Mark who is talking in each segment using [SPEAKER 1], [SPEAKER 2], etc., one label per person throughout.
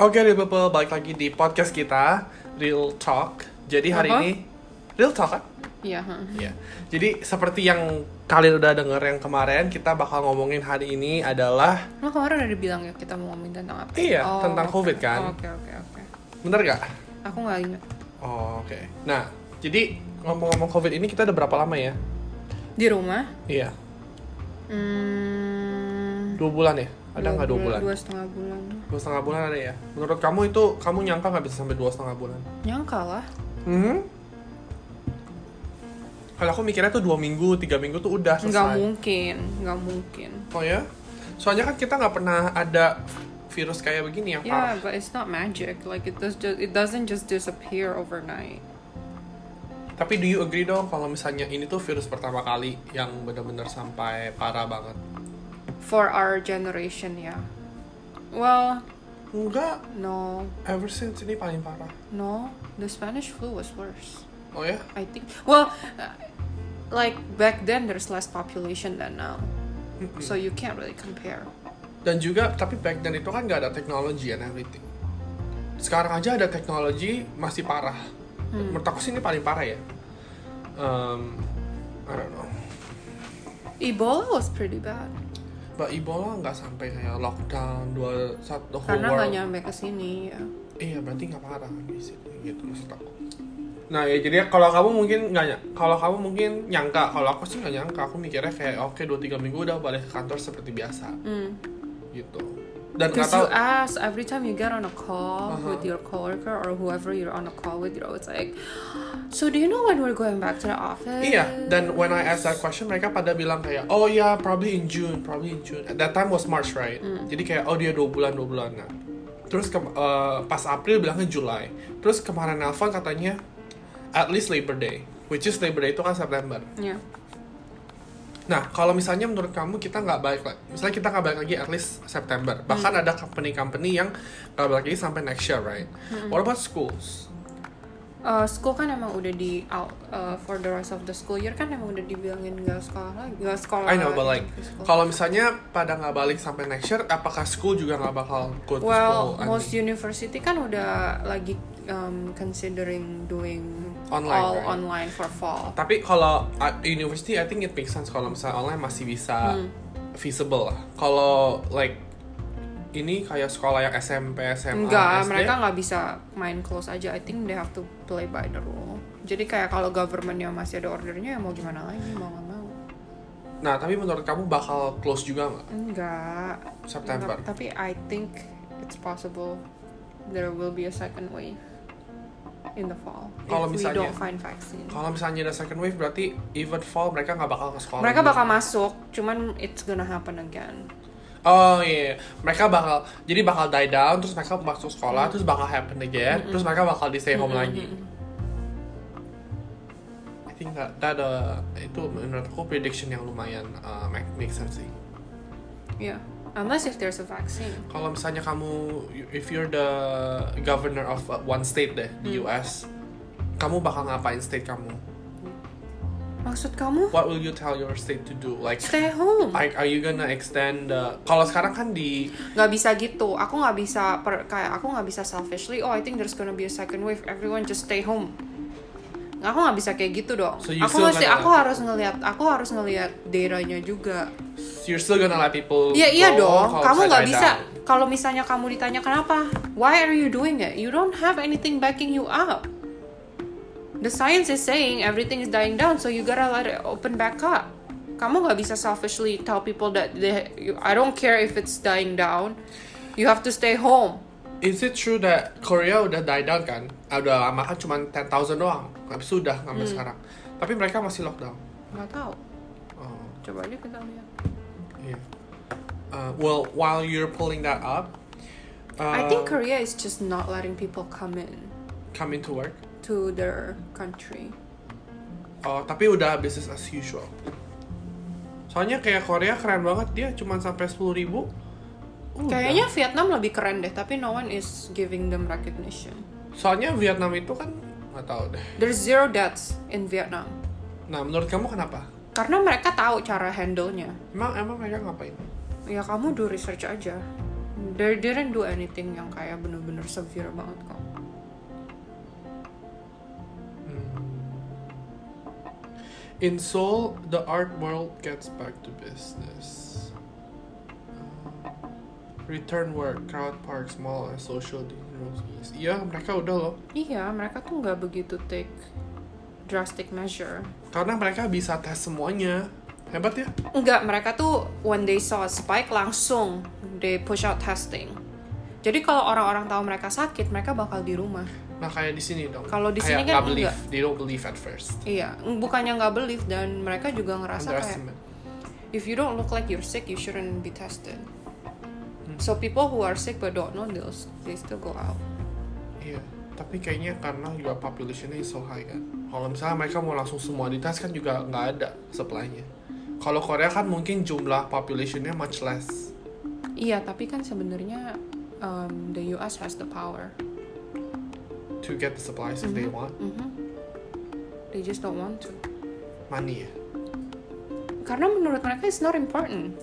[SPEAKER 1] Oke, Real People, balik lagi di podcast kita, Real Talk. Jadi hari
[SPEAKER 2] Apa?
[SPEAKER 1] ini Real Talk kan?
[SPEAKER 2] Iya. ha.
[SPEAKER 1] Iya. Jadi seperti yang kalian udah denger yang kemarin, kita bakal ngomongin hari ini adalah
[SPEAKER 2] Emang kemarin udah dibilang ya kita mau ngomongin tentang apa? Oh,
[SPEAKER 1] Iya, tentang COVID kan?
[SPEAKER 2] Oke oke oke.
[SPEAKER 1] bener gak?
[SPEAKER 2] Aku nggak ingat.
[SPEAKER 1] Oh, Oke. Nah, jadi ngomong-ngomong COVID ini kita udah berapa lama ya?
[SPEAKER 2] Di rumah.
[SPEAKER 1] Iya,
[SPEAKER 2] Hmm,
[SPEAKER 1] dua bulan ya? Ada nggak dua bulan?
[SPEAKER 2] Dua setengah bulan.
[SPEAKER 1] Dua setengah bulan ada ya? Menurut kamu itu, kamu nyangka nggak bisa sampai dua setengah bulan?
[SPEAKER 2] Nyangka lah.
[SPEAKER 1] Hmm? Kalau aku mikirnya tuh dua minggu, tiga minggu tuh udah selesai.
[SPEAKER 2] Nggak mungkin, nggak mungkin.
[SPEAKER 1] Oh ya? Soalnya kan kita nggak pernah ada virus kayak begini ya, yang
[SPEAKER 2] Yeah,
[SPEAKER 1] parah.
[SPEAKER 2] but it's not magic. Like it does just, it doesn't just disappear overnight.
[SPEAKER 1] Tapi do you agree dong kalau misalnya ini tuh virus pertama kali yang bener-bener sampai parah banget?
[SPEAKER 2] For our generation, yeah. Well,
[SPEAKER 1] Enggak,
[SPEAKER 2] no,
[SPEAKER 1] ever since ini paling parah.
[SPEAKER 2] no. The Spanish flu was worse.
[SPEAKER 1] Oh ya?
[SPEAKER 2] I think. Well, uh, like back then, there's less population than now,
[SPEAKER 1] Mm-hmm.
[SPEAKER 2] so you can't really compare.
[SPEAKER 1] Dan juga, tapi back then itu kan nggak ada teknologi and everything. Sekarang aja ada teknologi masih parah.
[SPEAKER 2] Hmm.
[SPEAKER 1] Menurut aku sih ini paling parah ya. Um, I don't know.
[SPEAKER 2] Ebola was pretty bad
[SPEAKER 1] Oh, Mbak Ebola nggak sampai kayak lockdown dua satu whole
[SPEAKER 2] karena nggak
[SPEAKER 1] world.
[SPEAKER 2] nyampe ke sini. Ya.
[SPEAKER 1] Iya berarti nggak parah di situ gitu maksud aku. Nah ya jadi kalau kamu mungkin nggak ny- kalau kamu mungkin nyangka kalau aku sih nggak nyangka aku mikirnya kayak oke dua tiga minggu udah balik ke kantor seperti biasa
[SPEAKER 2] Mm.
[SPEAKER 1] gitu dan nggak
[SPEAKER 2] Because
[SPEAKER 1] tahu
[SPEAKER 2] you ask every time you get on a call
[SPEAKER 1] Uh-huh.
[SPEAKER 2] with your coworker or whoever you're on a call with, you're always like, "So do you know when we're going back to the office?"
[SPEAKER 1] iya dan when I ask that question mereka pada bilang kayak oh ya probably in June probably in June At that time was March right jadi kayak oh dia dua bulan dua bulan nah terus ke, eh, pas April bilangnya July terus kemarin nelfon katanya at least Labor Day which is Labor Day itu kan September
[SPEAKER 2] Yeah.
[SPEAKER 1] Nah, kalau misalnya menurut kamu kita nggak balik lagi, misalnya kita nggak balik lagi at least September, bahkan
[SPEAKER 2] Hmm.
[SPEAKER 1] ada company-company yang nggak balik lagi sampai next year, right?
[SPEAKER 2] Hmm.
[SPEAKER 1] What about schools?
[SPEAKER 2] Uh, school kan emang udah di out uh, for the rest of the school year kan emang udah dibilangin nggak sekolah lagi nggak sekolah
[SPEAKER 1] I know, but like,
[SPEAKER 2] ke sekolah.
[SPEAKER 1] kalau misalnya pada nggak balik sampai next year, apakah school juga nggak bakal go to
[SPEAKER 2] Well,
[SPEAKER 1] school? I
[SPEAKER 2] most
[SPEAKER 1] mean,
[SPEAKER 2] university kan udah lagi um, considering doing
[SPEAKER 1] Online,
[SPEAKER 2] all
[SPEAKER 1] right?
[SPEAKER 2] online for fall.
[SPEAKER 1] Tapi kalau uh, university, I think it makes sense kalau misalnya online masih bisa
[SPEAKER 2] Hmm.
[SPEAKER 1] feasible lah. Kalau like ini kayak sekolah yang SMP, SMA,
[SPEAKER 2] Enggak,
[SPEAKER 1] SD,
[SPEAKER 2] mereka nggak bisa main close aja. I think they have to play by the rule. Jadi kayak kalau governmentnya masih ada ordernya ya mau gimana lagi mau nggak mau.
[SPEAKER 1] Nah, tapi menurut kamu bakal close juga nggak
[SPEAKER 2] Enggak.
[SPEAKER 1] September?
[SPEAKER 2] Enggak, Tapi I think it's possible there will be a second wave in the fall
[SPEAKER 1] Kalau
[SPEAKER 2] if
[SPEAKER 1] misalnya-
[SPEAKER 2] we don't find vaccine.
[SPEAKER 1] Kalau misalnya ada second wave berarti even fall mereka nggak bakal ke sekolah.
[SPEAKER 2] Mereka
[SPEAKER 1] dulu.
[SPEAKER 2] bakal masuk, cuman it's gonna happen again.
[SPEAKER 1] Oh iya, iya. mereka bakal jadi bakal die down terus mereka masuk sekolah terus bakal happen again terus mereka bakal di stay home lagi. I think that, that, uh, itu menurut aku prediction yang lumayan uh, make, make sense sih.
[SPEAKER 2] Yeah, Ya, unless if there's a vaccine.
[SPEAKER 1] Kalau misalnya kamu if you're the governor of uh, one state deh di
[SPEAKER 2] Mm.
[SPEAKER 1] US, kamu bakal ngapain state kamu?
[SPEAKER 2] Maksud kamu?
[SPEAKER 1] What will you tell your state to do? Like
[SPEAKER 2] Stay home.
[SPEAKER 1] Like, are you gonna extend the... Kalau sekarang kan di
[SPEAKER 2] Nggak bisa gitu. Aku nggak bisa per, kayak aku nggak bisa selfishly. Oh, I think there's gonna be a second wave. Everyone just stay home. Aku nggak bisa kayak gitu dong.
[SPEAKER 1] So you
[SPEAKER 2] aku
[SPEAKER 1] still
[SPEAKER 2] mesti
[SPEAKER 1] gonna-
[SPEAKER 2] aku harus ngelihat aku harus ngelihat daerahnya juga.
[SPEAKER 1] you're still gonna let people
[SPEAKER 2] Iya iya
[SPEAKER 1] go kalau
[SPEAKER 2] dong. Kamu
[SPEAKER 1] misalnya
[SPEAKER 2] nggak
[SPEAKER 1] die
[SPEAKER 2] bisa.
[SPEAKER 1] down.
[SPEAKER 2] Kalau misalnya kamu ditanya kenapa, why are you doing it? You don't have anything backing you up. The science is saying everything is dying down, so you gotta let it open back up. Kamu nggak bisa selfishly tell people that they, you, I don't care if it's dying down. You have to stay home.
[SPEAKER 1] Is it true that Korea udah die down kan? Ah, Udah lama kan cuma 10,000 doang Habis itu udah sampai
[SPEAKER 2] Hmm.
[SPEAKER 1] sekarang Tapi mereka masih lockdown
[SPEAKER 2] Nggak tahu.
[SPEAKER 1] Oh,
[SPEAKER 2] Coba aja kita lihat.
[SPEAKER 1] iya Uh, Well, while you're pulling that up uh,
[SPEAKER 2] I think Korea is just not letting people come in
[SPEAKER 1] Come into work
[SPEAKER 2] to their country.
[SPEAKER 1] Oh, tapi udah business as usual Soalnya kayak Korea keren banget Dia cuma sampai 10.000 ribu Oh,
[SPEAKER 2] Kayaknya Vietnam lebih keren deh, tapi no one is giving them recognition.
[SPEAKER 1] Soalnya Vietnam itu kan nggak tahu deh
[SPEAKER 2] There's zero deaths in Vietnam.
[SPEAKER 1] Nah, menurut kamu kenapa?
[SPEAKER 2] Karena mereka tahu cara handle-nya.
[SPEAKER 1] Emang, emang mereka ngapain?
[SPEAKER 2] Ya kamu do research aja. They didn't do anything yang kayak bener-bener severe banget kok.
[SPEAKER 1] Hmm. In Seoul, the art world gets back to business. Hmm. Return work, crowd parks, mall, and social dinners. Iya, mereka udah loh.
[SPEAKER 2] Iya, mereka tuh nggak begitu take drastic measure.
[SPEAKER 1] Karena mereka bisa tes semuanya. Hebat ya?
[SPEAKER 2] Enggak, mereka tuh when they saw a spike langsung they push out testing. Jadi kalau orang-orang tahu mereka sakit, mereka bakal di rumah.
[SPEAKER 1] Nah, kayak di sini dong.
[SPEAKER 2] Kalau di
[SPEAKER 1] Kayak
[SPEAKER 2] sini kan
[SPEAKER 1] nggak believe.
[SPEAKER 2] enggak.
[SPEAKER 1] They don't believe at first.
[SPEAKER 2] Iya, bukannya nggak believe dan mereka juga ngerasa kayak
[SPEAKER 1] Underestimate.
[SPEAKER 2] if you don't look like you're sick, you shouldn't be tested.
[SPEAKER 1] Hmm.
[SPEAKER 2] So people who are sick but don't know this, they still go out.
[SPEAKER 1] Iya. Tapi kayaknya karena juga populationnya is so high kan. Kalau misalnya mereka mau langsung semua dites kan juga nggak ada supply-nya. Kalau Korea kan mungkin jumlah populationnya much less.
[SPEAKER 2] Iya, tapi kan sebenarnya um, the US has the power.
[SPEAKER 1] to get the supplies if they want
[SPEAKER 2] Mhm. They just don't want to.
[SPEAKER 1] money ya
[SPEAKER 2] Karena menurut mereka it's not important.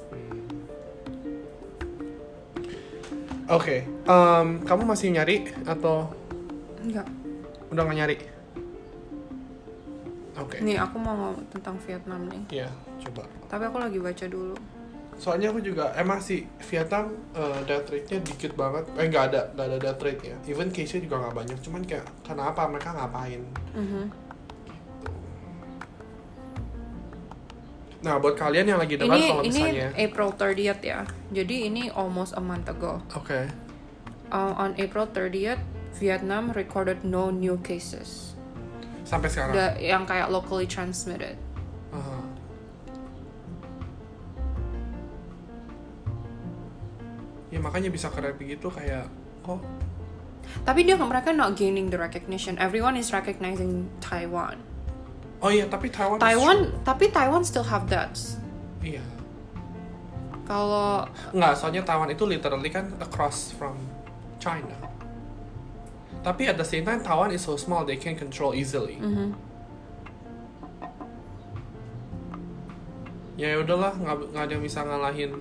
[SPEAKER 1] oke um, kamu masih nyari atau
[SPEAKER 2] Enggak.
[SPEAKER 1] udah nggak nyari oke
[SPEAKER 2] Nih, aku mau ngomong tentang Vietnam nih.
[SPEAKER 1] ya coba
[SPEAKER 2] Tapi aku lagi baca dulu.
[SPEAKER 1] soalnya aku juga emang sih Vietnam eh, death rate-nya dikit banget eh nggak ada nggak ada death rate-nya even case-nya juga nggak banyak cuman kayak kenapa mereka ngapain
[SPEAKER 2] Mhm.
[SPEAKER 1] nah buat kalian yang lagi debat
[SPEAKER 2] Ini
[SPEAKER 1] kalau
[SPEAKER 2] ini eh-
[SPEAKER 1] misalnya
[SPEAKER 2] April 30th ya. Jadi ini almost a month ago.
[SPEAKER 1] oke
[SPEAKER 2] Uh, on April 30th, Vietnam recorded no new cases.
[SPEAKER 1] sampai sekarang
[SPEAKER 2] The, yang kayak locally transmitted.
[SPEAKER 1] Aha. Ya makanya bisa keren begitu kayak oh
[SPEAKER 2] Tapi dia mereka not gaining the recognition. Everyone is recognizing Taiwan.
[SPEAKER 1] oh iya tapi Taiwan is
[SPEAKER 2] Taiwan, tapi Taiwan still have deaths.
[SPEAKER 1] true. iya
[SPEAKER 2] Kalau
[SPEAKER 1] nggak soalnya Taiwan itu literally kan across from China tapi at the same time Taiwan is so small they can control easily
[SPEAKER 2] Mhm.
[SPEAKER 1] ya udahlah nggak nggak ada yang bisa ngalahin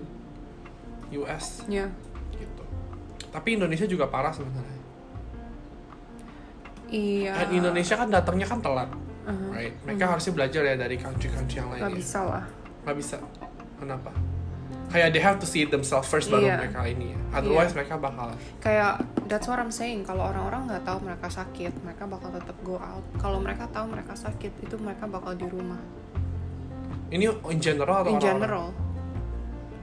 [SPEAKER 1] US
[SPEAKER 2] ya,
[SPEAKER 1] gitu tapi Indonesia juga parah sebenarnya
[SPEAKER 2] iya.
[SPEAKER 1] dan Indonesia kan datangnya kan telat
[SPEAKER 2] Mhm.
[SPEAKER 1] right mereka harusnya belajar ya dari country-country yang lain
[SPEAKER 2] Nggak
[SPEAKER 1] ya.
[SPEAKER 2] bisa lah.
[SPEAKER 1] nggak bisa kenapa kayak they have to see it themselves first baru
[SPEAKER 2] Iya.
[SPEAKER 1] mereka ini ya otherwise mereka bakal
[SPEAKER 2] Kayak that's what I'm saying. Kalau orang-orang nggak tahu mereka sakit, mereka bakal tetap go out. Kalau mereka tahu mereka sakit, itu mereka bakal di rumah.
[SPEAKER 1] ini in general atau Oh, orang-orang?
[SPEAKER 2] in general.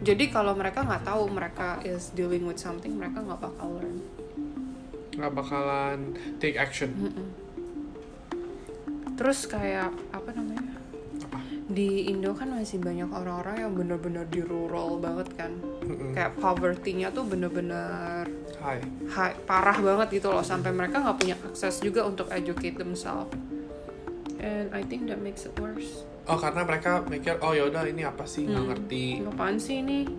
[SPEAKER 2] Jadi kalau mereka nggak tahu mereka is dealing with something, mereka nggak bakal learn.
[SPEAKER 1] nggak bakalan take action
[SPEAKER 2] Mm-mm. Terus kayak apa namanya? Di Indo kan masih banyak orang-orang yang bener-bener di rural banget kan.
[SPEAKER 1] Mm-mm.
[SPEAKER 2] Kayak poverty-nya tuh bener-bener
[SPEAKER 1] Hai.
[SPEAKER 2] high- parah banget gitu loh sampai mereka nggak punya akses juga untuk educate themselves. And I think that makes it worse.
[SPEAKER 1] oh karena mereka mikir oh yaudah ini apa sih nggak
[SPEAKER 2] Hmm.
[SPEAKER 1] ngerti
[SPEAKER 2] Ini Apaan sih ini?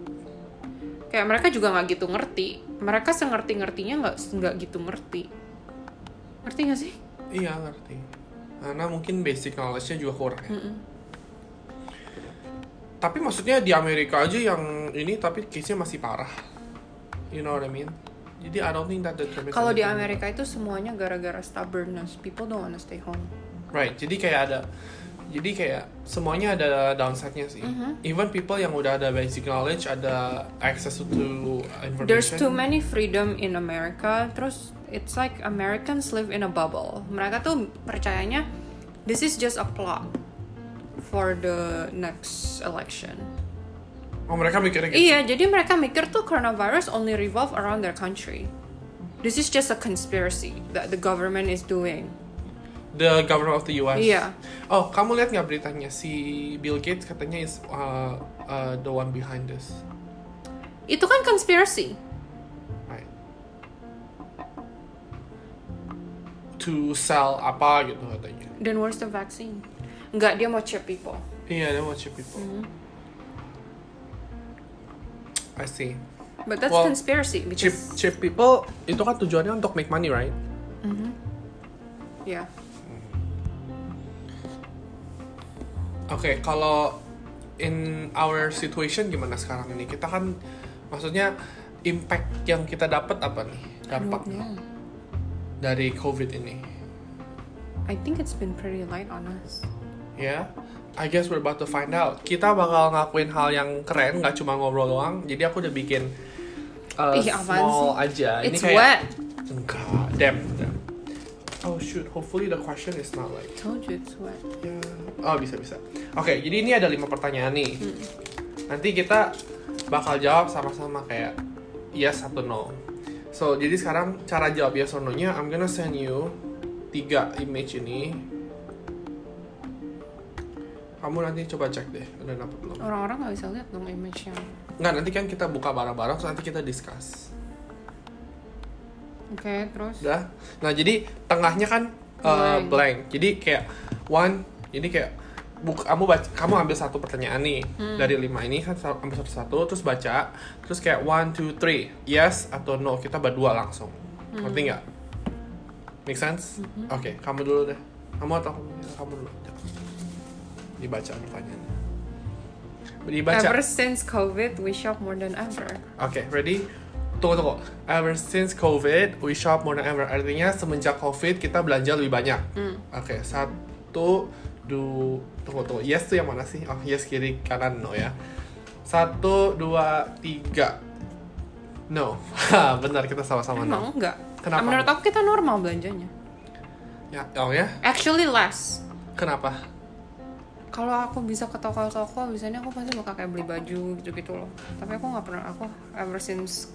[SPEAKER 2] Kayak mereka juga nggak gitu ngerti. Mereka sengerti-ngertinya nggak nggak gitu ngerti. Ngerti nggak sih?
[SPEAKER 1] iya ngerti karena mungkin basic knowledge-nya juga kurang ya.
[SPEAKER 2] Mm-mm.
[SPEAKER 1] tapi maksudnya di Amerika aja yang ini tapi case-nya masih parah you know what I mean jadi I don't think that determines
[SPEAKER 2] Kalau di
[SPEAKER 1] anything.
[SPEAKER 2] Amerika itu semuanya gara-gara stubbornness. People don't wanna stay home.
[SPEAKER 1] Right, jadi kayak ada jadi kayak semuanya ada downside-nya sih.
[SPEAKER 2] Mm-hmm.
[SPEAKER 1] Even people yang udah ada basic knowledge, ada access to information.
[SPEAKER 2] There's too many freedom in America. Terus it's like Americans live in a bubble. Mereka tuh percayanya this is just a plot for the next election.
[SPEAKER 1] Oh, mereka mikirnya gitu.
[SPEAKER 2] Iya, jadi mereka mikir tuh coronavirus only revolve around their country. This is just a conspiracy that the government is doing.
[SPEAKER 1] The government of the US.
[SPEAKER 2] Iya.
[SPEAKER 1] Oh, kamu lihat nggak beritanya si Bill Gates katanya is uh, uh, the one behind this.
[SPEAKER 2] Itu kan conspiracy.
[SPEAKER 1] Right. To sell apa gitu katanya.
[SPEAKER 2] Then where's the vaccine? Nggak, dia mau chip people.
[SPEAKER 1] Iya, yeah, that was your people.
[SPEAKER 2] Hmm.
[SPEAKER 1] I see.
[SPEAKER 2] But that's
[SPEAKER 1] Well,
[SPEAKER 2] conspiracy because
[SPEAKER 1] Cheap, cheap people itu kan tujuannya untuk make money, right?
[SPEAKER 2] yeah.
[SPEAKER 1] Oke, kalau in our situation gimana sekarang ini? Kita kan maksudnya impact yang kita dapat apa nih dampaknya
[SPEAKER 2] Yeah.
[SPEAKER 1] dari COVID ini?
[SPEAKER 2] I think it's been pretty light on us.
[SPEAKER 1] Ya, I guess we're about to find out. Kita bakal ngakuin hal yang keren, nggak cuma ngobrol doang. Jadi aku udah bikin uh,
[SPEAKER 2] Ih, apaan
[SPEAKER 1] small aja.
[SPEAKER 2] It's
[SPEAKER 1] Nah, ini kayak
[SPEAKER 2] wet.
[SPEAKER 1] enggak, damn, damn. Oh shoot, hopefully the question is not like
[SPEAKER 2] Told you it's wet.
[SPEAKER 1] Ya. Oh bisa bisa. Oke, jadi ini ada lima pertanyaan nih. Nanti kita bakal jawab sama-sama kayak yes atau no. So jadi sekarang cara jawab yes or no-nya, I'm gonna send you tiga image ini. Kamu nanti coba cek deh, udah dapet belum?
[SPEAKER 2] Orang-orang nggak bisa lihat dong image yang.
[SPEAKER 1] Nggak, nanti kan kita buka barang-barang, terus nanti kita discuss.
[SPEAKER 2] Oke, terus.
[SPEAKER 1] Udah. Nah, jadi tengahnya kan uh,
[SPEAKER 2] Blank.
[SPEAKER 1] blank. Jadi kayak one, jadi kayak buk, kamu baca, kamu ambil satu pertanyaan nih dari lima ini kan sa- ambil satu-satu terus baca, terus kayak one, two, three, yes atau no. Kita berdua langsung. Ngerti nggak? Make sense? Oke, kamu dulu deh. Kamu atau aku? kamu dulu. Dibaca pertanyaannya. Dibaca.
[SPEAKER 2] Ever since COVID, we shop more than ever.
[SPEAKER 1] Oke, ready? Tunggu, tunggu. Ever since COVID, we shop more than ever. Artinya semenjak COVID kita belanja lebih banyak. Oke, satu, dua, tunggu, tunggu. Yes tuh yang mana sih? Oh, yes kiri kanan no ya. Satu, dua, tiga. No, Hah, benar kita sama-sama no.
[SPEAKER 2] Emang enggak?
[SPEAKER 1] Kenapa?
[SPEAKER 2] Menurut aku kita normal belanjanya.
[SPEAKER 1] Ya, oh ya,
[SPEAKER 2] Actually less.
[SPEAKER 1] kenapa?
[SPEAKER 2] Kalau aku bisa ke toko-toko, biasanya aku pasti bakal kayak beli baju gitu-gitu loh. Tapi aku nggak pernah, aku ever since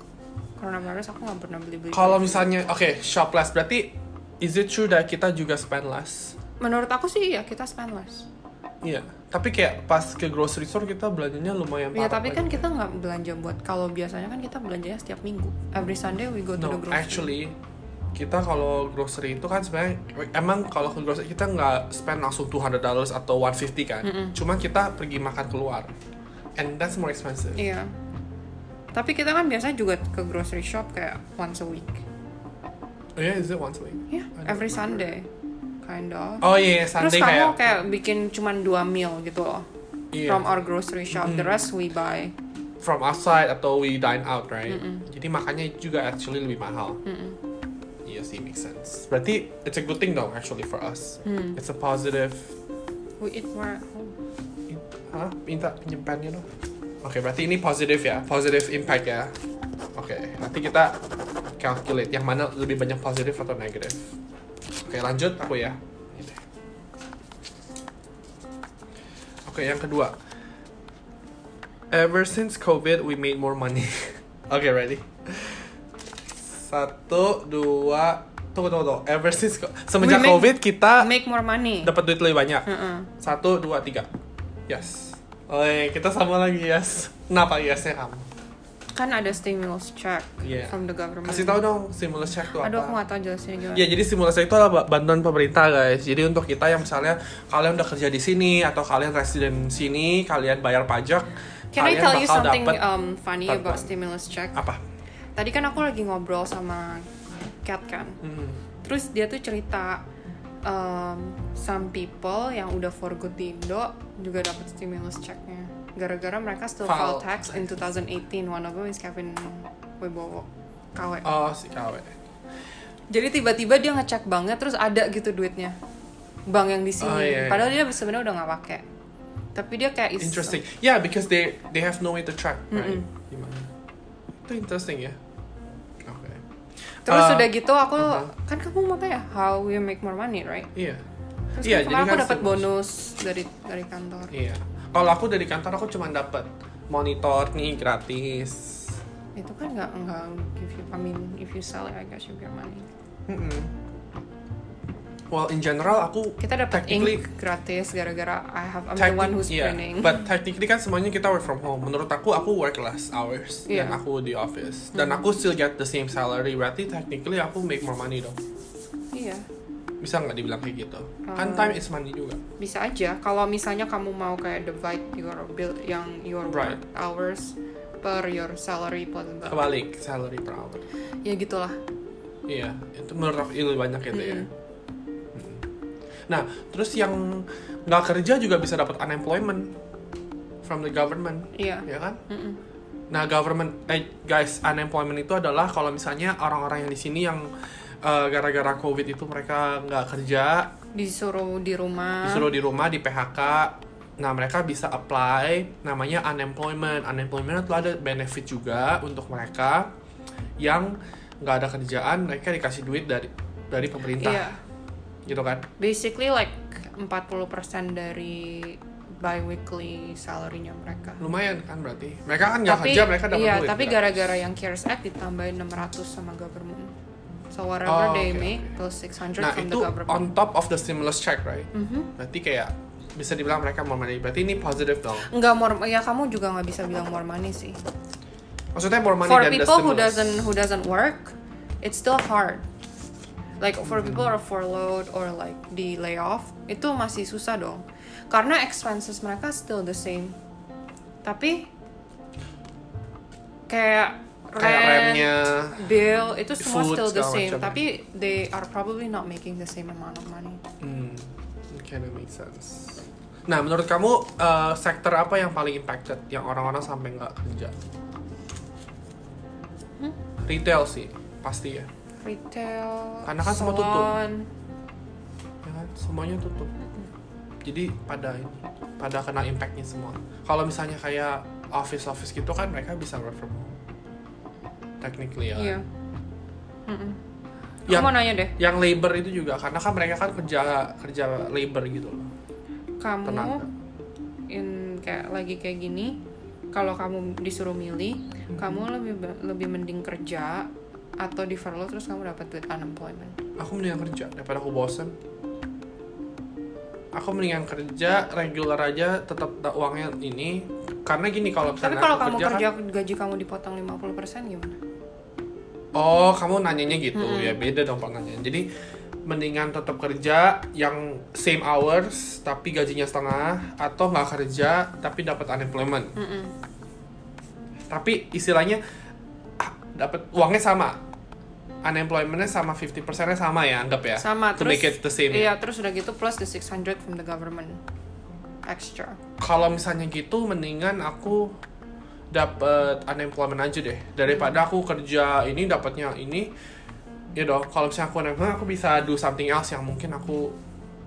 [SPEAKER 2] coronavirus aku nggak pernah beli-beli.
[SPEAKER 1] Kalau misalnya, oke, shop less berarti is it true that kita juga spend less?
[SPEAKER 2] Menurut aku sih ya kita spend less.
[SPEAKER 1] Iya, tapi kayak pas ke grocery store kita belanjanya lumayan
[SPEAKER 2] Ya
[SPEAKER 1] parah
[SPEAKER 2] tapi kan
[SPEAKER 1] banyak.
[SPEAKER 2] kita nggak belanja buat kalau biasanya kan kita belanjanya setiap minggu. Every Sunday we go to the
[SPEAKER 1] No,
[SPEAKER 2] grocery.
[SPEAKER 1] actually kita kalau grocery itu kan sebenarnya emang kalau ke grocery kita nggak spend langsung 200 dollars atau 150 kan. Cuma kita pergi makan keluar. And that's more expensive.
[SPEAKER 2] Iya. Tapi kita kan biasanya juga ke grocery shop kayak once a week.
[SPEAKER 1] Oh yeah, is it once a week?
[SPEAKER 2] Ya,
[SPEAKER 1] Aduh.
[SPEAKER 2] every Sunday. Kind of.
[SPEAKER 1] Oh iya, yeah, Sunday
[SPEAKER 2] Terus kamu
[SPEAKER 1] kayak,
[SPEAKER 2] kayak... bikin cuman dua meal gitu loh.
[SPEAKER 1] iya, Mm.
[SPEAKER 2] From our grocery shop, the rest we buy.
[SPEAKER 1] from outside atau we dine out, right?
[SPEAKER 2] Mm.
[SPEAKER 1] Jadi makannya juga actually lebih mahal. Iya sih, makes sense. Berarti it's a good thing dong actually for us.
[SPEAKER 2] Hmm.
[SPEAKER 1] It's a positive.
[SPEAKER 2] We eat more at home.
[SPEAKER 1] Hah? Minta penyimpannya dong. Oke, berarti ini positif ya, positive impact ya. Oke, nanti kita calculate yang mana lebih banyak positif atau negatif. Oke, lanjut aku ya. Ini deh. Oke, yang kedua. Ever since COVID, we made more money. Oke, ready? Satu, dua, tunggu, tunggu, tunggu. Ever since co- semenjak
[SPEAKER 2] We make-
[SPEAKER 1] COVID kita
[SPEAKER 2] Make more money.
[SPEAKER 1] dapat duit lebih banyak.
[SPEAKER 2] Mm-mm.
[SPEAKER 1] Satu, dua, tiga. Yes. Oi, kita sama lagi yes. Kenapa yesnya kamu?
[SPEAKER 2] Kan ada stimulus check
[SPEAKER 1] Iya.
[SPEAKER 2] from the government.
[SPEAKER 1] Kasih tahu dong stimulus check itu
[SPEAKER 2] Aduh, aku
[SPEAKER 1] apa?
[SPEAKER 2] nggak tahu jelasin gimana.
[SPEAKER 1] Ya, jadi stimulus check itu adalah ba- bantuan pemerintah, guys. Jadi untuk kita yang misalnya kalian udah kerja di sini atau kalian resident sini, kalian bayar pajak,
[SPEAKER 2] Can
[SPEAKER 1] kalian
[SPEAKER 2] I tell you
[SPEAKER 1] bakal
[SPEAKER 2] something
[SPEAKER 1] dapet
[SPEAKER 2] um, funny about
[SPEAKER 1] bantuan.
[SPEAKER 2] stimulus check?
[SPEAKER 1] apa?
[SPEAKER 2] Tadi kan aku lagi ngobrol sama Cat kan.
[SPEAKER 1] Hmm.
[SPEAKER 2] Terus dia tuh cerita um, some people yang udah for good di Indo juga dapat stimulus checknya. Gara-gara mereka still
[SPEAKER 1] File
[SPEAKER 2] file tax in 2018. One of them is Kevin Wibowo. KW.
[SPEAKER 1] Oh, si KW.
[SPEAKER 2] Jadi tiba-tiba dia ngecek banknya terus ada gitu duitnya. Bank yang di sini.
[SPEAKER 1] Oh, iya, iya.
[SPEAKER 2] Padahal dia sebenarnya udah nggak pakai. Tapi dia kayak is-
[SPEAKER 1] Interesting. Yeah, because they they have no way to track, right?
[SPEAKER 2] Mm-mm.
[SPEAKER 1] Gimana? Itu interesting ya. Oke.
[SPEAKER 2] Terus
[SPEAKER 1] Uh,
[SPEAKER 2] udah gitu aku
[SPEAKER 1] uh-huh.
[SPEAKER 2] kan kamu mau tanya how we make more money, right?
[SPEAKER 1] Iya.
[SPEAKER 2] Terus
[SPEAKER 1] Iya,
[SPEAKER 2] kan
[SPEAKER 1] jadi
[SPEAKER 2] kemarin aku
[SPEAKER 1] kan
[SPEAKER 2] dapat
[SPEAKER 1] stimulus.
[SPEAKER 2] bonus dari dari kantor.
[SPEAKER 1] Iya. Kalau aku dari kantor aku cuma dapat monitor nih gratis.
[SPEAKER 2] Itu kan nggak nggak give you, I mean if you sell it I guess you get money.
[SPEAKER 1] Mm-mm. Well, in general aku
[SPEAKER 2] Kita dapat
[SPEAKER 1] Technically-
[SPEAKER 2] ink gratis gara-gara I have I'm the
[SPEAKER 1] teknik-
[SPEAKER 2] one who's
[SPEAKER 1] iya.
[SPEAKER 2] printing.
[SPEAKER 1] But technically kan semuanya kita work from home. Menurut aku aku work less hours dan
[SPEAKER 2] Iya.
[SPEAKER 1] aku di office dan aku still get the same salary. Berarti technically aku make more money dong.
[SPEAKER 2] Iya,
[SPEAKER 1] Bisa nggak dibilang kayak gitu? Kan
[SPEAKER 2] Ah.
[SPEAKER 1] time is money juga.
[SPEAKER 2] bisa aja kalau misalnya kamu mau kayak divide your bill yang your
[SPEAKER 1] Right.
[SPEAKER 2] work hours per your salary blah, blah, blah.
[SPEAKER 1] Kebalik salary per hour.
[SPEAKER 2] Ya gitulah.
[SPEAKER 1] Iya, itu menurut aku lebih banyak itu ya.
[SPEAKER 2] Mm-mm.
[SPEAKER 1] Mm. Nah, terus yang nggak kerja juga bisa dapat unemployment from the government,
[SPEAKER 2] Iya.
[SPEAKER 1] ya kan?
[SPEAKER 2] Mm-mm.
[SPEAKER 1] Nah, government eh, guys, unemployment itu adalah kalau misalnya orang-orang yang di sini yang eh, gara-gara COVID itu mereka nggak kerja,
[SPEAKER 2] disuruh di rumah
[SPEAKER 1] disuruh di rumah di PHK nah mereka bisa apply namanya unemployment unemployment itu ada benefit juga untuk mereka yang nggak ada kerjaan mereka dikasih duit dari dari pemerintah
[SPEAKER 2] Iya.
[SPEAKER 1] gitu kan
[SPEAKER 2] basically like 40% dari bi-weekly salary-nya mereka
[SPEAKER 1] lumayan kan berarti mereka kan nggak kerja mereka dapat
[SPEAKER 2] iya,
[SPEAKER 1] duit
[SPEAKER 2] tapi
[SPEAKER 1] kan?
[SPEAKER 2] gara-gara yang CARES Act ditambahin 600 sama government so
[SPEAKER 1] Oh,
[SPEAKER 2] whatever they
[SPEAKER 1] oke,
[SPEAKER 2] make
[SPEAKER 1] oke.
[SPEAKER 2] plus 600
[SPEAKER 1] nah
[SPEAKER 2] from
[SPEAKER 1] itu
[SPEAKER 2] the government
[SPEAKER 1] on top of the stimulus check right
[SPEAKER 2] Mhm.
[SPEAKER 1] berarti kayak bisa dibilang mereka mau money berarti ini positive dong
[SPEAKER 2] nggak more ya kamu juga nggak bisa bilang more money sih
[SPEAKER 1] maksudnya more money
[SPEAKER 2] for
[SPEAKER 1] than the
[SPEAKER 2] people who
[SPEAKER 1] stimulus
[SPEAKER 2] doesn't who doesn't work it's still hard like for people who are furloughed or like di layoff itu masih susah dong karena expenses mereka still the same tapi kayak
[SPEAKER 1] kayak
[SPEAKER 2] rent,
[SPEAKER 1] remnya
[SPEAKER 2] bill itu semua
[SPEAKER 1] food,
[SPEAKER 2] still the
[SPEAKER 1] segala
[SPEAKER 2] same
[SPEAKER 1] macam.
[SPEAKER 2] tapi they are probably not making the same amount of money
[SPEAKER 1] Hmm, okay, that makes sense. Nah, menurut kamu eh, sektor apa yang paling impacted, yang orang-orang sampai nggak kerja? Retail sih, pasti ya.
[SPEAKER 2] retail
[SPEAKER 1] Karena kan semua tutup.
[SPEAKER 2] salon.
[SPEAKER 1] ya kan? Semuanya tutup. Jadi pada pada kena impactnya semua. Kalau misalnya kayak office-office gitu kan mereka bisa work from home. Technically ya.
[SPEAKER 2] iya
[SPEAKER 1] kan?
[SPEAKER 2] Mm-mm.
[SPEAKER 1] Yang
[SPEAKER 2] Aku mau nanya deh
[SPEAKER 1] yang labor itu juga karena kan mereka kan kerja kerja labor gitu loh.
[SPEAKER 2] kamu
[SPEAKER 1] Tenaga.
[SPEAKER 2] in kayak lagi kayak gini kalau kamu disuruh milih kamu lebih ba- lebih mending kerja atau di furlough terus kamu dapat duit unemployment
[SPEAKER 1] aku mendingan kerja daripada aku bosen aku mendingan kerja regular aja tetap da- uangnya ini karena gini kalau
[SPEAKER 2] tapi
[SPEAKER 1] misalnya
[SPEAKER 2] kalau
[SPEAKER 1] aku
[SPEAKER 2] kamu
[SPEAKER 1] kerja,
[SPEAKER 2] kerja
[SPEAKER 1] kan-
[SPEAKER 2] gaji kamu dipotong 50% gimana
[SPEAKER 1] oh kamu nanyanya gitu ya beda dong pertanyaan jadi mendingan tetap kerja yang same hours tapi gajinya setengah atau nggak kerja tapi dapat unemployment
[SPEAKER 2] Mm-mm.
[SPEAKER 1] tapi istilahnya ah, dapat uangnya sama unemploymentnya sama 50 persennya sama ya anggap ya
[SPEAKER 2] sama
[SPEAKER 1] to
[SPEAKER 2] terus
[SPEAKER 1] make it the same ya?
[SPEAKER 2] iya terus udah gitu plus the 600 from the government extra
[SPEAKER 1] kalau misalnya gitu mendingan aku dapat unemployment aja deh daripada aku kerja ini dapatnya ini ya dong kalau misalnya aku unemployment aku bisa do something else yang mungkin aku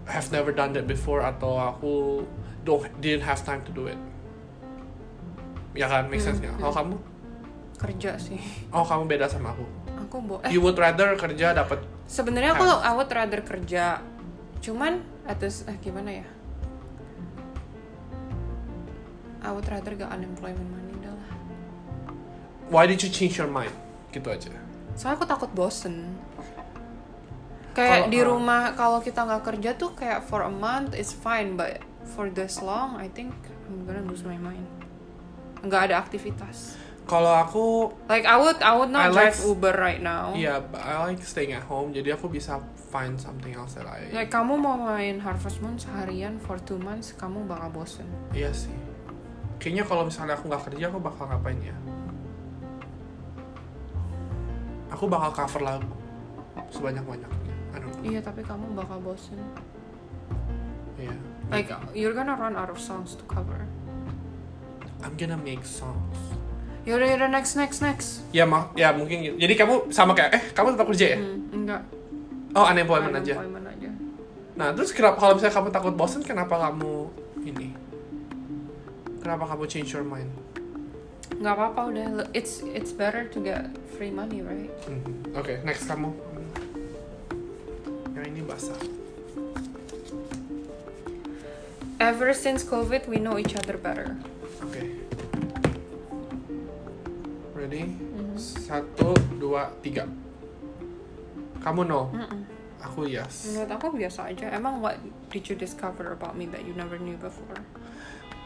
[SPEAKER 1] have never done that before atau aku don't didn't have time to do it ya kan make sense
[SPEAKER 2] Hmm.
[SPEAKER 1] nggak? kalau kamu
[SPEAKER 2] kerja sih
[SPEAKER 1] oh kamu beda sama aku
[SPEAKER 2] aku bo eh
[SPEAKER 1] you would rather kerja dapat
[SPEAKER 2] sebenarnya aku I would rather kerja cuman atau eh, gimana ya I would rather gak unemployment money dah lah
[SPEAKER 1] why did you change your mind gitu aja
[SPEAKER 2] soalnya aku takut bosen kayak
[SPEAKER 1] Kalau-
[SPEAKER 2] di
[SPEAKER 1] ah.
[SPEAKER 2] rumah kalau kita nggak kerja tuh kayak for a month it's fine but for this long I think I'm gonna lose my mind nggak ada aktivitas
[SPEAKER 1] kalau aku
[SPEAKER 2] like I would I would
[SPEAKER 1] I
[SPEAKER 2] not
[SPEAKER 1] like-
[SPEAKER 2] drive Uber right now
[SPEAKER 1] ya I like staying at home jadi aku bisa find something else that I
[SPEAKER 2] Like kamu mau main Harvest Moon seharian for two months, kamu bakal bosen.
[SPEAKER 1] Iya sih. Kayaknya kalau misalnya aku nggak kerja, aku bakal ngapain ya? Aku bakal cover lagu sebanyak-banyaknya. I don't know.
[SPEAKER 2] Iya, tapi kamu bakal bosen.
[SPEAKER 1] Iya.
[SPEAKER 2] Like you're gonna run out of songs to cover.
[SPEAKER 1] I'm gonna make songs.
[SPEAKER 2] Yaudah, yaudah, next, next, next.
[SPEAKER 1] Ya, ma ya mungkin gitu. Jadi kamu sama kayak, eh kamu tetap kerja ya?
[SPEAKER 2] Hmm, enggak.
[SPEAKER 1] Oh, unemployment aja.
[SPEAKER 2] Hmm. Unemployment aja.
[SPEAKER 1] Nah, terus kenapa kalau misalnya kamu takut bosen, kenapa kamu ini? Kenapa kamu change your mind?
[SPEAKER 2] Nggak apa-apa udah. It's it's better to get free money, right?
[SPEAKER 1] Mhm. Oke, next kamu. Hmm. Yang ini basah.
[SPEAKER 2] Ever since COVID, we know each other better.
[SPEAKER 1] Oke. Ready? Satu, dua, tiga. Kamu no,
[SPEAKER 2] Mm-mm.
[SPEAKER 1] aku yes.
[SPEAKER 2] Menurut aku biasa aja. Emang what did you discover about me that you never knew before?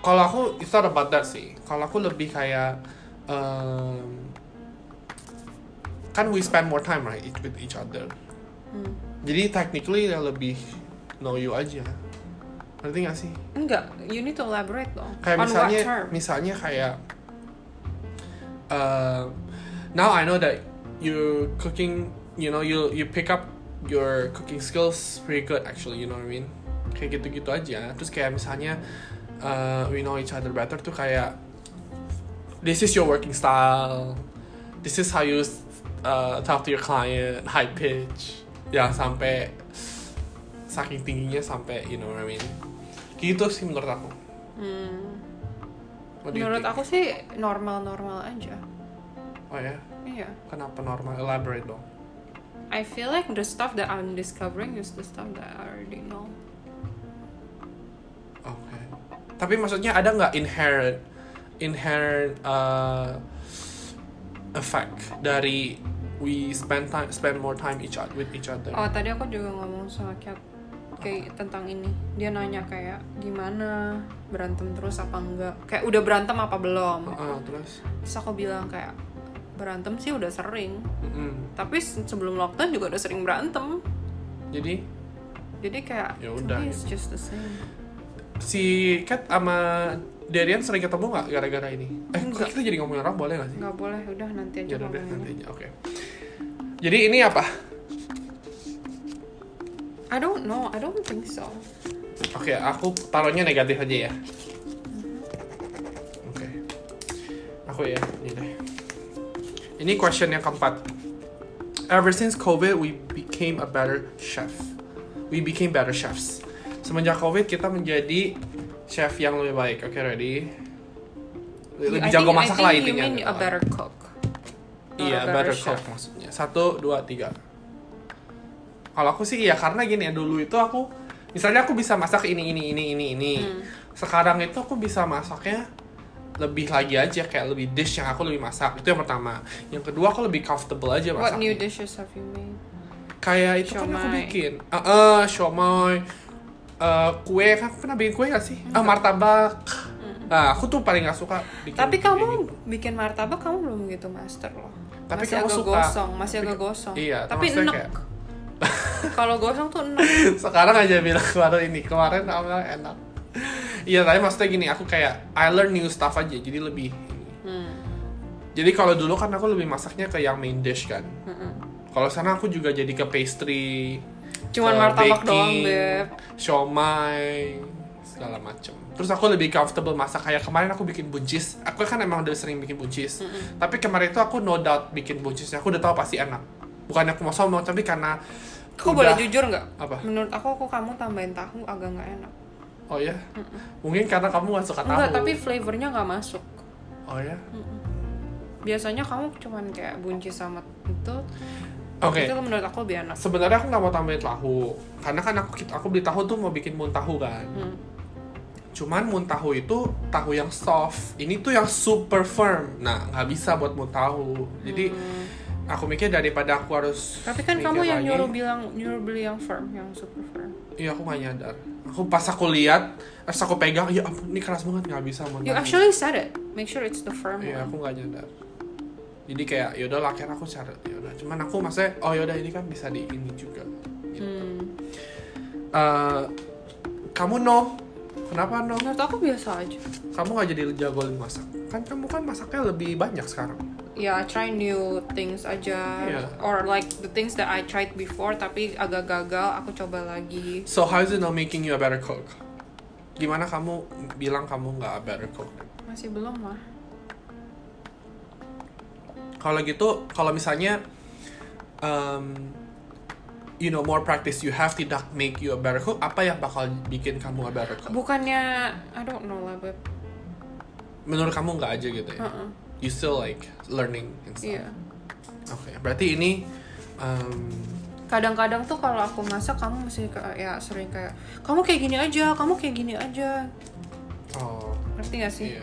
[SPEAKER 1] Kalau aku it's not about that sih. Kalau aku lebih kayak em, kan we spend more time right each- with each other. Mm.
[SPEAKER 2] Hmm.
[SPEAKER 1] Jadi technically ya lebih know you aja. Ngerti gak sih?
[SPEAKER 2] Enggak. You need to elaborate dong.
[SPEAKER 1] kayak
[SPEAKER 2] On
[SPEAKER 1] misalnya
[SPEAKER 2] what term?
[SPEAKER 1] misalnya kayak uh, now I know that you cooking you know you you pick up your cooking skills pretty good actually you know what I mean kayak gitu gitu aja terus kayak misalnya uh, we know each other better tuh kayak this is your working style this is how you uh, talk to your client high pitch ya sampai saking tingginya sampai you know what I mean gitu sih menurut aku What do you
[SPEAKER 2] Hmm.
[SPEAKER 1] think?
[SPEAKER 2] Menurut aku sih normal-normal aja.
[SPEAKER 1] oh ya
[SPEAKER 2] Iya.
[SPEAKER 1] kenapa normal elaborate dong
[SPEAKER 2] I feel like the stuff that I'm discovering is the stuff that I already know.
[SPEAKER 1] oke tapi maksudnya ada nggak inherent inherent uh, effect dari we spend time spend more time each oth- with each other
[SPEAKER 2] Oh tadi aku juga ngomong sama Kat kayak tentang ini. Dia nanya kayak gimana berantem terus apa enggak? Kayak udah berantem apa belum?
[SPEAKER 1] Uh, terus
[SPEAKER 2] Terus aku bilang kayak berantem sih udah sering.
[SPEAKER 1] Mm-mm.
[SPEAKER 2] Tapi se- sebelum lockdown juga udah sering berantem.
[SPEAKER 1] jadi
[SPEAKER 2] Jadi kayak
[SPEAKER 1] Ya
[SPEAKER 2] to
[SPEAKER 1] udah,
[SPEAKER 2] me it's just the same.
[SPEAKER 1] si Kat sama Darian sering ketemu nggak gara-gara ini? Eh, kok
[SPEAKER 2] Nggak.
[SPEAKER 1] kita jadi ngomongin orang boleh nggak sih?
[SPEAKER 2] Nggak boleh udah nanti aja
[SPEAKER 1] Ya udah deh, nanti
[SPEAKER 2] ngomonginnya.
[SPEAKER 1] aja. Oke. Jadi ini apa?
[SPEAKER 2] I don't know, I don't think so.
[SPEAKER 1] Oke, aku taruhnya negatif aja ya. Oke. Aku ya, ini deh. Ini question yang keempat. Ever since COVID, we became a better chef. We became better chefs. Semenjak COVID, kita menjadi chef yang lebih baik. Oke, ready? Lebih
[SPEAKER 2] I
[SPEAKER 1] jago
[SPEAKER 2] think- I
[SPEAKER 1] masak lah
[SPEAKER 2] think
[SPEAKER 1] intinya. gitu kan.
[SPEAKER 2] You mean a better cook. not
[SPEAKER 1] Iya,
[SPEAKER 2] a
[SPEAKER 1] better
[SPEAKER 2] better
[SPEAKER 1] cook
[SPEAKER 2] chef.
[SPEAKER 1] maksudnya. Satu, dua, tiga. Kalau aku sih iya, karena gini ya, dulu itu aku... Misalnya aku bisa masak ini, ini, ini, ini, ini.
[SPEAKER 2] Hmm.
[SPEAKER 1] Sekarang itu aku bisa masaknya lebih lagi aja, kayak lebih dish yang aku lebih masak. Itu yang pertama. Yang kedua, aku lebih comfortable aja masaknya.
[SPEAKER 2] What new dishes have you made?
[SPEAKER 1] Kayak itu kan aku
[SPEAKER 2] Siomay.
[SPEAKER 1] bikin. Eh, eh, siomay. Eh, kue, kan aku pernah bikin kue gak sih? Ah,
[SPEAKER 2] Hmm.
[SPEAKER 1] martabak. Nah, aku tuh paling gak suka bikin
[SPEAKER 2] Tapi
[SPEAKER 1] kue
[SPEAKER 2] kamu
[SPEAKER 1] gitu.
[SPEAKER 2] bikin martabak kamu belum gitu master loh.
[SPEAKER 1] Tapi
[SPEAKER 2] masih
[SPEAKER 1] kamu
[SPEAKER 2] agak
[SPEAKER 1] suka.
[SPEAKER 2] gosong, masih
[SPEAKER 1] Tapi-
[SPEAKER 2] agak gosong.
[SPEAKER 1] Iya,
[SPEAKER 2] tapi
[SPEAKER 1] maksudnya
[SPEAKER 2] enak.
[SPEAKER 1] kayak-
[SPEAKER 2] Kalau gosong tuh enak.
[SPEAKER 1] sekarang aja bilang baru ini kemarin aku bilang enak iya tapi maksudnya gini aku kayak I learn new stuff aja jadi lebih
[SPEAKER 2] Hmm.
[SPEAKER 1] jadi kalau dulu kan aku lebih masaknya ke yang main dish kan kalau sana aku juga jadi ke pastry
[SPEAKER 2] Cuman
[SPEAKER 1] ke
[SPEAKER 2] martabak doang,
[SPEAKER 1] baking,
[SPEAKER 2] Beb.
[SPEAKER 1] siomay segala macem terus aku lebih comfortable masak kayak kemarin aku bikin buncis aku kan emang udah sering bikin buncis tapi kemarin itu aku no doubt bikin buncisnya aku udah tahu pasti enak bukan aku mau sombong tapi karena
[SPEAKER 2] Aku
[SPEAKER 1] udah-
[SPEAKER 2] boleh jujur nggak?
[SPEAKER 1] apa
[SPEAKER 2] Menurut aku, aku kamu tambahin tahu agak nggak enak.
[SPEAKER 1] Oh ya, mungkin karena kamu gak suka tahu.
[SPEAKER 2] Enggak, tapi flavornya nggak masuk.
[SPEAKER 1] Oh ya,
[SPEAKER 2] Biasanya kamu cuman kayak bunci sama itu.
[SPEAKER 1] oke.
[SPEAKER 2] Itu menurut aku lebih enak.
[SPEAKER 1] Sebenarnya aku nggak mau tambahin tahu, karena kan aku aku beli tahu tuh mau bikin muntahu kan.
[SPEAKER 2] Hmm.
[SPEAKER 1] Cuman muntahu itu tahu yang soft, ini tuh yang super firm. Nah nggak bisa buat muntahu. Jadi
[SPEAKER 2] Hmm.
[SPEAKER 1] aku mikir daripada aku harus.
[SPEAKER 2] Tapi kan
[SPEAKER 1] mikir
[SPEAKER 2] kamu yang
[SPEAKER 1] lagi,
[SPEAKER 2] nyuruh bilang nyuruh beli yang firm, yang super firm.
[SPEAKER 1] Iya aku nggak nyadar. Aku pas aku lihat, terus aku pegang, ya ampun ini keras banget nggak bisa muntahu.
[SPEAKER 2] You actually said it. Make sure it's the firm
[SPEAKER 1] Iya,
[SPEAKER 2] one.
[SPEAKER 1] aku nggak nyadar. Jadi kayak yaudah lah, akhirnya aku cari yaudah. Cuman aku maksudnya, oh yaudah ini kan bisa di ini juga. Gitu.
[SPEAKER 2] Hmm.
[SPEAKER 1] Eh, kamu no, kenapa no?
[SPEAKER 2] Menurut aku biasa aja.
[SPEAKER 1] Kamu nggak jadi jago masak? Kan kamu kan masaknya lebih banyak sekarang.
[SPEAKER 2] Ya, try new things aja.
[SPEAKER 1] Iya.
[SPEAKER 2] Or like the things that I tried before tapi agak gagal, aku coba lagi.
[SPEAKER 1] So how is it not making you a better cook? Gimana kamu bilang kamu nggak a better cook?
[SPEAKER 2] Masih belum lah.
[SPEAKER 1] Kalau gitu, kalau misalnya, um, you know more practice you have tidak make you a better cook, apa yang bakal bikin kamu a better cook?
[SPEAKER 2] Bukannya I don't know lah, Beb.
[SPEAKER 1] menurut kamu nggak aja gitu ya?
[SPEAKER 2] Heeh.
[SPEAKER 1] You still like learning and stuff.
[SPEAKER 2] Hmm. Iya.
[SPEAKER 1] Oke, berarti ini um,
[SPEAKER 2] Kadang-kadang tuh kalau aku masak kamu mesti kayak ya sering kayak kamu kayak gini aja, kamu kayak gini aja.
[SPEAKER 1] oh
[SPEAKER 2] Ngerti gak sih?
[SPEAKER 1] iya.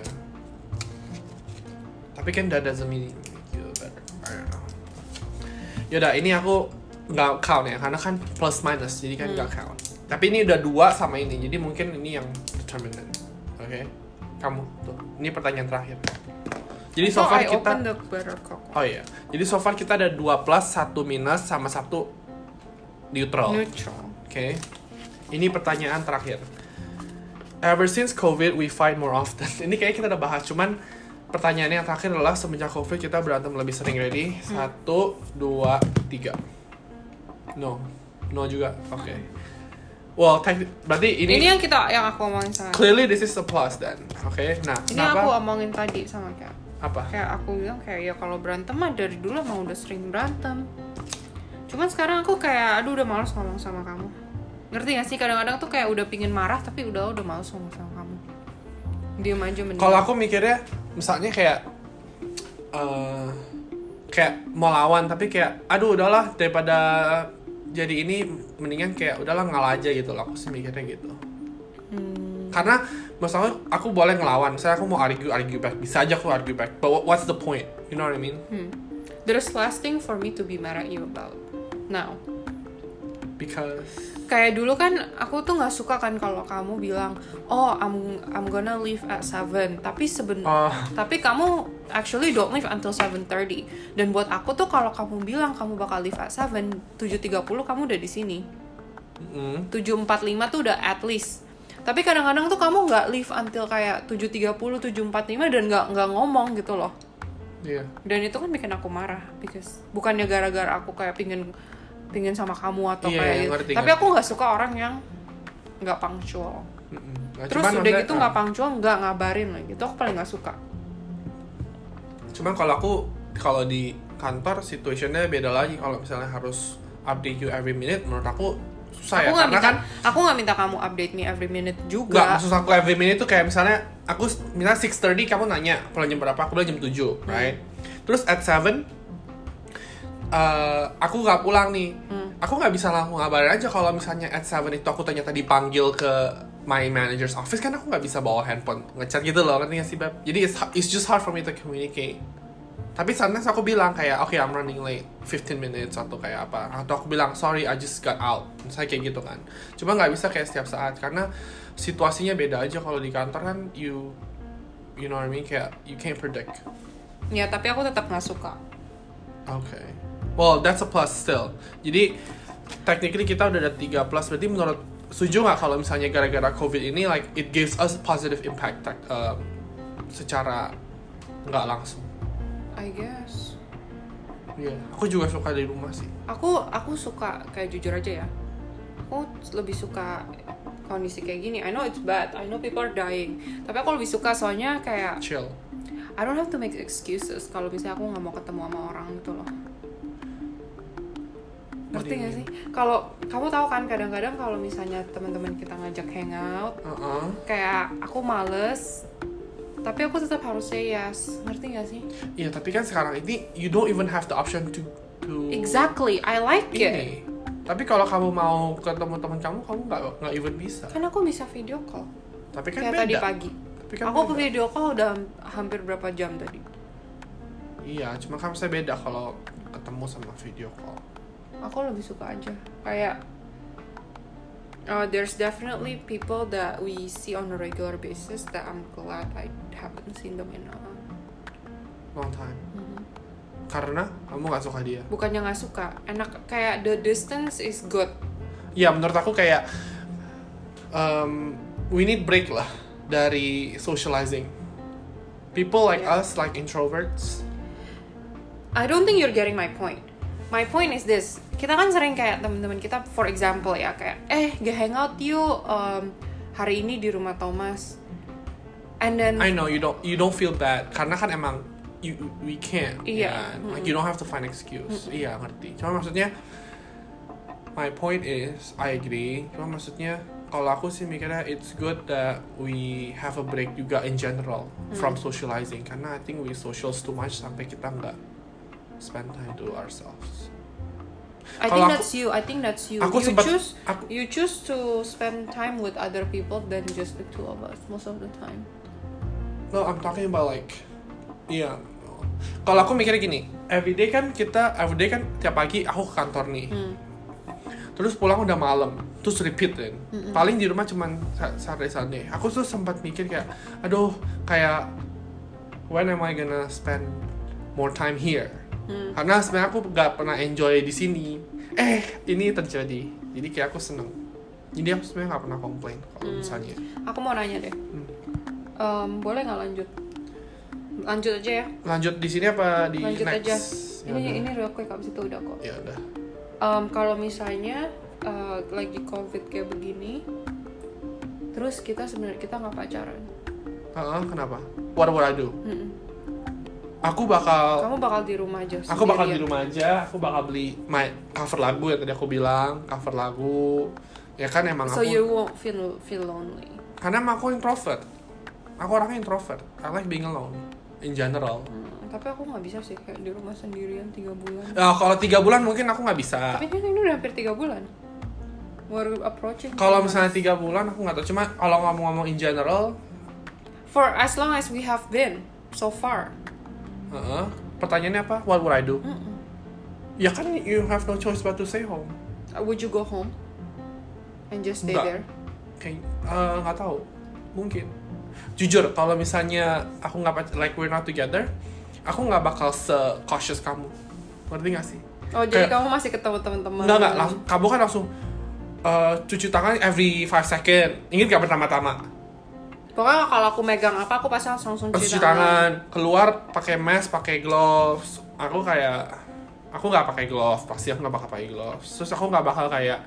[SPEAKER 1] Tapi kan that doesn't mean you better. I don't know. kan. Yaudah, ini aku nggak count ya karena kan plus minus jadi kan
[SPEAKER 2] Hmm.
[SPEAKER 1] nggak count. Tapi ini udah dua sama ini jadi mungkin ini yang determinant. Oke, kamu tuh. Ini pertanyaan terakhir. Jadi so
[SPEAKER 2] So,
[SPEAKER 1] far
[SPEAKER 2] I
[SPEAKER 1] kita
[SPEAKER 2] open the butter cook.
[SPEAKER 1] Oh iya. Jadi so far kita ada 2 plus, 1 minus, sama 1 neutral. Oke.
[SPEAKER 2] Neutral.
[SPEAKER 1] Ini pertanyaan terakhir. Ever since COVID, we fight more often. Ini kayaknya kita udah bahas, cuman pertanyaannya yang terakhir adalah semenjak COVID kita berantem lebih sering. Ready? Satu, dua, tiga. No. No juga. Oke. Well, thank- berarti ini,
[SPEAKER 2] Ini, yang kita yang aku omongin sama.
[SPEAKER 1] clearly this is a plus then. Oke. Nah,
[SPEAKER 2] Ini
[SPEAKER 1] kenapa?
[SPEAKER 2] aku omongin tadi sama kayak.
[SPEAKER 1] apa
[SPEAKER 2] kayak aku bilang kayak ya kalau berantem mah dari dulu emang udah sering berantem cuman sekarang aku kayak aduh udah males ngomong sama kamu ngerti gak sih kadang-kadang tuh kayak udah pingin marah tapi udah udah males ngomong sama kamu diem aja mending
[SPEAKER 1] kalau aku mikirnya misalnya kayak eh kayak mau lawan tapi kayak aduh udahlah daripada jadi ini mendingan kayak udahlah ngalah aja gitu loh aku sih mikirnya gitu
[SPEAKER 2] Hmm.
[SPEAKER 1] karena masalah aku boleh ngelawan misalnya aku mau argue argue back bisa aja aku argue back but what- what's the point you know what I mean
[SPEAKER 2] there's last thing for me to be mad at you about now
[SPEAKER 1] because
[SPEAKER 2] kayak dulu kan aku tuh nggak suka kan kalau kamu bilang oh I'm I'm gonna leave at 7 tapi seben
[SPEAKER 1] Ah.
[SPEAKER 2] tapi kamu actually don't leave until 7.30 dan buat aku tuh kalau kamu bilang kamu bakal leave at 7 7.30 kamu udah di sini
[SPEAKER 1] mm,
[SPEAKER 2] 7.45 tuh udah at least tapi kadang-kadang tuh kamu nggak leave until kayak 7.30 7.45 dan nggak nggak ngomong gitu loh
[SPEAKER 1] yeah.
[SPEAKER 2] dan itu kan bikin aku marah because bukannya gara-gara aku kayak pingin pingin sama kamu atau
[SPEAKER 1] Iya,
[SPEAKER 2] kayak
[SPEAKER 1] iya,
[SPEAKER 2] gitu.
[SPEAKER 1] ngerti,
[SPEAKER 2] tapi
[SPEAKER 1] ngerti.
[SPEAKER 2] aku nggak suka orang yang nggak punctual
[SPEAKER 1] Mm-mm. Nah,
[SPEAKER 2] terus
[SPEAKER 1] cuman
[SPEAKER 2] udah
[SPEAKER 1] maksudnya,
[SPEAKER 2] gitu
[SPEAKER 1] ah,
[SPEAKER 2] nggak punctual nggak ngabarin lagi itu aku paling nggak suka
[SPEAKER 1] cuman kalau aku kalau di kantor situationnya beda lagi kalau misalnya harus update you every minute menurut aku susah ya
[SPEAKER 2] aku nggak
[SPEAKER 1] karena
[SPEAKER 2] minta
[SPEAKER 1] kan
[SPEAKER 2] aku nggak minta kamu update me every minute
[SPEAKER 1] Enggak,
[SPEAKER 2] juga
[SPEAKER 1] maksud aku every minute tuh kayak misalnya aku s- misalnya 6.30 kamu nanya pulang jam berapa, aku bilang jam 7, right? Terus at 7 eh, aku nggak pulang nih. Aku nggak bisa langsung ngabarin aja kalau misalnya at 7 itu aku ternyata dipanggil ke my manager's office kan aku nggak bisa bawa handphone ngechat gitu loh ngerti nggak sih beb jadi it's, it's just hard for me to communicate tapi sometimes aku bilang kayak oke I'm running late 15 minutes atau kayak apa atau aku bilang sorry I just got out misalnya kayak gitu kan cuma nggak bisa kayak setiap saat karena situasinya beda aja kalau di kantor kan you you know what I mean kayak you can't predict
[SPEAKER 2] ya tapi aku tetap nggak suka
[SPEAKER 1] okay well that's a plus still jadi technically kita udah ada 3 plus berarti menurut setuju nggak kalau misalnya gara-gara covid ini like it gives us positive impact tak- um, secara nggak langsung
[SPEAKER 2] I guess
[SPEAKER 1] Iya, aku juga suka di rumah sih
[SPEAKER 2] aku aku suka kayak jujur aja ya aku lebih suka kondisi kayak gini I know it's bad I know people are dying tapi aku lebih suka soalnya kayak
[SPEAKER 1] chill
[SPEAKER 2] I don't have to make excuses kalau misalnya aku nggak mau ketemu sama orang gitu loh.
[SPEAKER 1] What do
[SPEAKER 2] Ngerti
[SPEAKER 1] you
[SPEAKER 2] gak
[SPEAKER 1] mean?
[SPEAKER 2] sih? Kalau kamu tahu kan kadang-kadang kalau misalnya teman-teman kita ngajak hangout,
[SPEAKER 1] uh
[SPEAKER 2] kayak aku males, tapi aku tetap harus say yes. Ngerti gak sih?
[SPEAKER 1] Iya, tapi kan sekarang ini you don't even have the option to to
[SPEAKER 2] Exactly, I like it.
[SPEAKER 1] ini. Tapi kalau kamu mau ketemu teman kamu, kamu nggak nggak even bisa.
[SPEAKER 2] Kan aku bisa video call.
[SPEAKER 1] Tapi kan
[SPEAKER 2] kayak
[SPEAKER 1] beda.
[SPEAKER 2] tadi pagi.
[SPEAKER 1] Tapi kan
[SPEAKER 2] Aku ke
[SPEAKER 1] beda.
[SPEAKER 2] video call udah hampir berapa jam tadi?
[SPEAKER 1] Iya, cuma kan saya beda kalau ketemu sama video call.
[SPEAKER 2] aku lebih suka aja kayak uh, there's definitely people that we see on a regular basis that I'm glad I haven't seen them in a
[SPEAKER 1] Long time. Karena kamu nggak suka dia.
[SPEAKER 2] bukannya nggak suka enak kayak the distance is good
[SPEAKER 1] Iya, menurut aku kayak um, we need break lah dari socializing. People like
[SPEAKER 2] Iya.
[SPEAKER 1] us, like introverts.
[SPEAKER 2] I don't think you're getting my point my point is this kita kan sering kayak teman-teman kita for example ya kayak eh gak hangout yuk um, hari ini di rumah Thomas and then
[SPEAKER 1] I know you don't you don't feel bad karena kan emang you we can't.
[SPEAKER 2] Iya.
[SPEAKER 1] kan? Like you don't have to find excuse. Iya ngerti. Cuma maksudnya my point is I agree. Cuma maksudnya kalau aku sih mikirnya it's good that we have a break juga in general from socializing karena I think we socials too much sampai kita nggak spend time to ourselves.
[SPEAKER 2] I
[SPEAKER 1] Kalau
[SPEAKER 2] think
[SPEAKER 1] aku-
[SPEAKER 2] that's you. I think that's you.
[SPEAKER 1] Aku
[SPEAKER 2] you
[SPEAKER 1] sempat-
[SPEAKER 2] choose
[SPEAKER 1] aku-
[SPEAKER 2] you choose to spend time with other people than just the two of us most of the time.
[SPEAKER 1] No, I'm talking about like, iya. Kalau aku mikirnya gini, everyday kan kita, everyday kan tiap pagi aku ke kantor nih.
[SPEAKER 2] Hmm,
[SPEAKER 1] Terus pulang udah malam, terus repeat kan.
[SPEAKER 2] Hmm.
[SPEAKER 1] Paling di rumah cuman Sa- Saturday Sunday. Aku tuh sempat mikir kayak, aduh, kayak when am I gonna spend more time here?
[SPEAKER 2] Hmm.
[SPEAKER 1] Karena sebenarnya aku gak pernah enjoy di sini. Eh, ini terjadi. Jadi kayak aku seneng. Jadi aku sebenarnya gak pernah komplain kalau
[SPEAKER 2] Hmm.
[SPEAKER 1] misalnya.
[SPEAKER 2] Aku mau nanya deh. Em, boleh nggak lanjut? Lanjut aja ya.
[SPEAKER 1] Lanjut di sini apa di
[SPEAKER 2] Lanjut
[SPEAKER 1] next?
[SPEAKER 2] aja.
[SPEAKER 1] Ya udah.
[SPEAKER 2] Ini ini real quick abis itu udah kok.
[SPEAKER 1] ya udah
[SPEAKER 2] Em, kalau misalnya eh, lagi covid kayak begini, terus kita sebenarnya kita nggak pacaran.
[SPEAKER 1] Heeh, kenapa what would I do
[SPEAKER 2] Mm-mm.
[SPEAKER 1] aku bakal
[SPEAKER 2] Kamu bakal di rumah aja.
[SPEAKER 1] Oh. aku bakal di
[SPEAKER 2] sendirian.
[SPEAKER 1] rumah aja aku bakal beli my cover lagu yang tadi aku bilang cover lagu ya kan emang
[SPEAKER 2] So
[SPEAKER 1] aku
[SPEAKER 2] you won't feel feel lonely.
[SPEAKER 1] karena emang aku introvert aku orangnya introvert I like being alone in general
[SPEAKER 2] Hmm, tapi aku nggak bisa sih kayak di rumah sendirian tiga bulan.
[SPEAKER 1] Eh, ah. kalau tiga bulan mungkin aku nggak bisa
[SPEAKER 2] Tapi kan ini udah hampir tiga bulan. We're approaching.
[SPEAKER 1] kalau
[SPEAKER 2] three
[SPEAKER 1] misalnya tiga bulan aku nggak tahu cuma kalau ngomong-ngomong in general
[SPEAKER 2] months. for as long as we have been so far.
[SPEAKER 1] heeh, pertanyaannya apa what would I do
[SPEAKER 2] Mm-mm.
[SPEAKER 1] ya kan you have no choice but to stay home
[SPEAKER 2] Uh, Would you go home and just stay
[SPEAKER 1] Nggak.
[SPEAKER 2] there?
[SPEAKER 1] kayak eh, nggak tahu mungkin jujur kalau misalnya aku nggak pac- like we're not together aku nggak bakal se cautious kamu ngerti nggak sih
[SPEAKER 2] Oh jadi
[SPEAKER 1] Kayak-
[SPEAKER 2] kamu masih ketemu teman-teman?
[SPEAKER 1] nggak nggak lang- kamu kan langsung eh, cuci tangan every 5 second ingat gak pertama-tama
[SPEAKER 2] Pokoknya kalau aku megang apa aku pasti langsung langsung
[SPEAKER 1] cuci tangan keluar pakai mask pakai gloves aku kayak aku nggak pakai gloves pasti aku nggak bakal pakai gloves terus aku nggak bakal kayak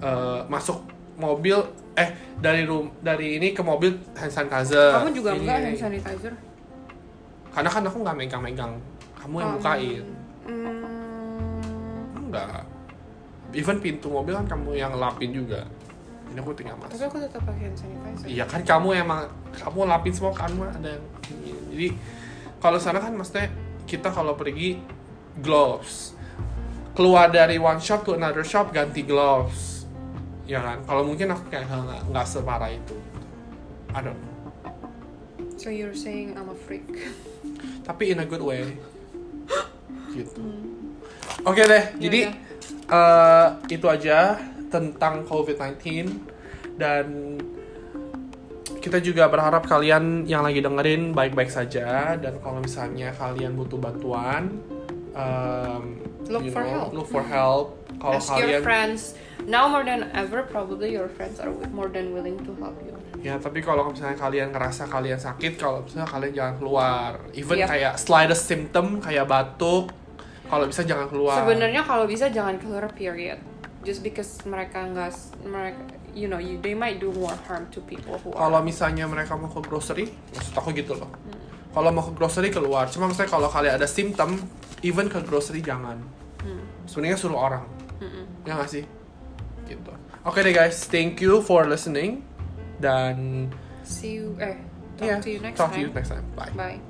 [SPEAKER 1] eh, masuk mobil eh dari room dari ini ke mobil hand sanitizer
[SPEAKER 2] Kamu juga
[SPEAKER 1] Ini-
[SPEAKER 2] enggak hand sanitizer?
[SPEAKER 1] karena kan aku nggak megang-megang kamu yang
[SPEAKER 2] Um,
[SPEAKER 1] bukain
[SPEAKER 2] Hmm,
[SPEAKER 1] enggak even pintu mobil kan kamu yang lapin juga ini aku tinggal
[SPEAKER 2] tapi
[SPEAKER 1] masuk
[SPEAKER 2] aku tetap pakai hand sanitizer.
[SPEAKER 1] iya kan kamu emang kamu lapin semua kamu ada yang ini. jadi kalau sana kan maksudnya kita kalau pergi gloves keluar dari one shop to another shop ganti gloves ya kan kalau mungkin aku kayak nggak- nggak nggak separah itu I don't know
[SPEAKER 2] So you're saying I'm a freak?
[SPEAKER 1] tapi in a good way gitu
[SPEAKER 2] Hmm.
[SPEAKER 1] oke deh jadi
[SPEAKER 2] Yaudah.
[SPEAKER 1] eh itu aja tentang COVID-19 dan kita juga berharap kalian yang lagi dengerin baik-baik saja dan kalau misalnya kalian butuh bantuan em,
[SPEAKER 2] Look for help.
[SPEAKER 1] look for help kalau
[SPEAKER 2] Ask your
[SPEAKER 1] kalian
[SPEAKER 2] friends. Now more than ever, probably your friends are wi- more than willing to help you.
[SPEAKER 1] ya tapi kalau misalnya kalian ngerasa kalian sakit kalau misalnya kalian jangan keluar even
[SPEAKER 2] Iya.
[SPEAKER 1] kayak slightest symptom kayak batuk kalau bisa jangan keluar
[SPEAKER 2] Sebenarnya kalau bisa jangan keluar period. Just because mereka nggak s- mereka you know you, they might do more harm to people who are.
[SPEAKER 1] kalau misalnya mereka mau ke grocery maksud aku gitu loh kalau mau ke grocery keluar cuma maksudnya kalau kalian ada simptom even ke grocery jangan
[SPEAKER 2] Hmm.
[SPEAKER 1] sebenarnya suruh orang ya nggak sih gitu oke deh guys thank you for listening dan
[SPEAKER 2] See you eh talk
[SPEAKER 1] ya,
[SPEAKER 2] to you next
[SPEAKER 1] Iya. talk to
[SPEAKER 2] time.
[SPEAKER 1] you next time bye
[SPEAKER 2] Bye.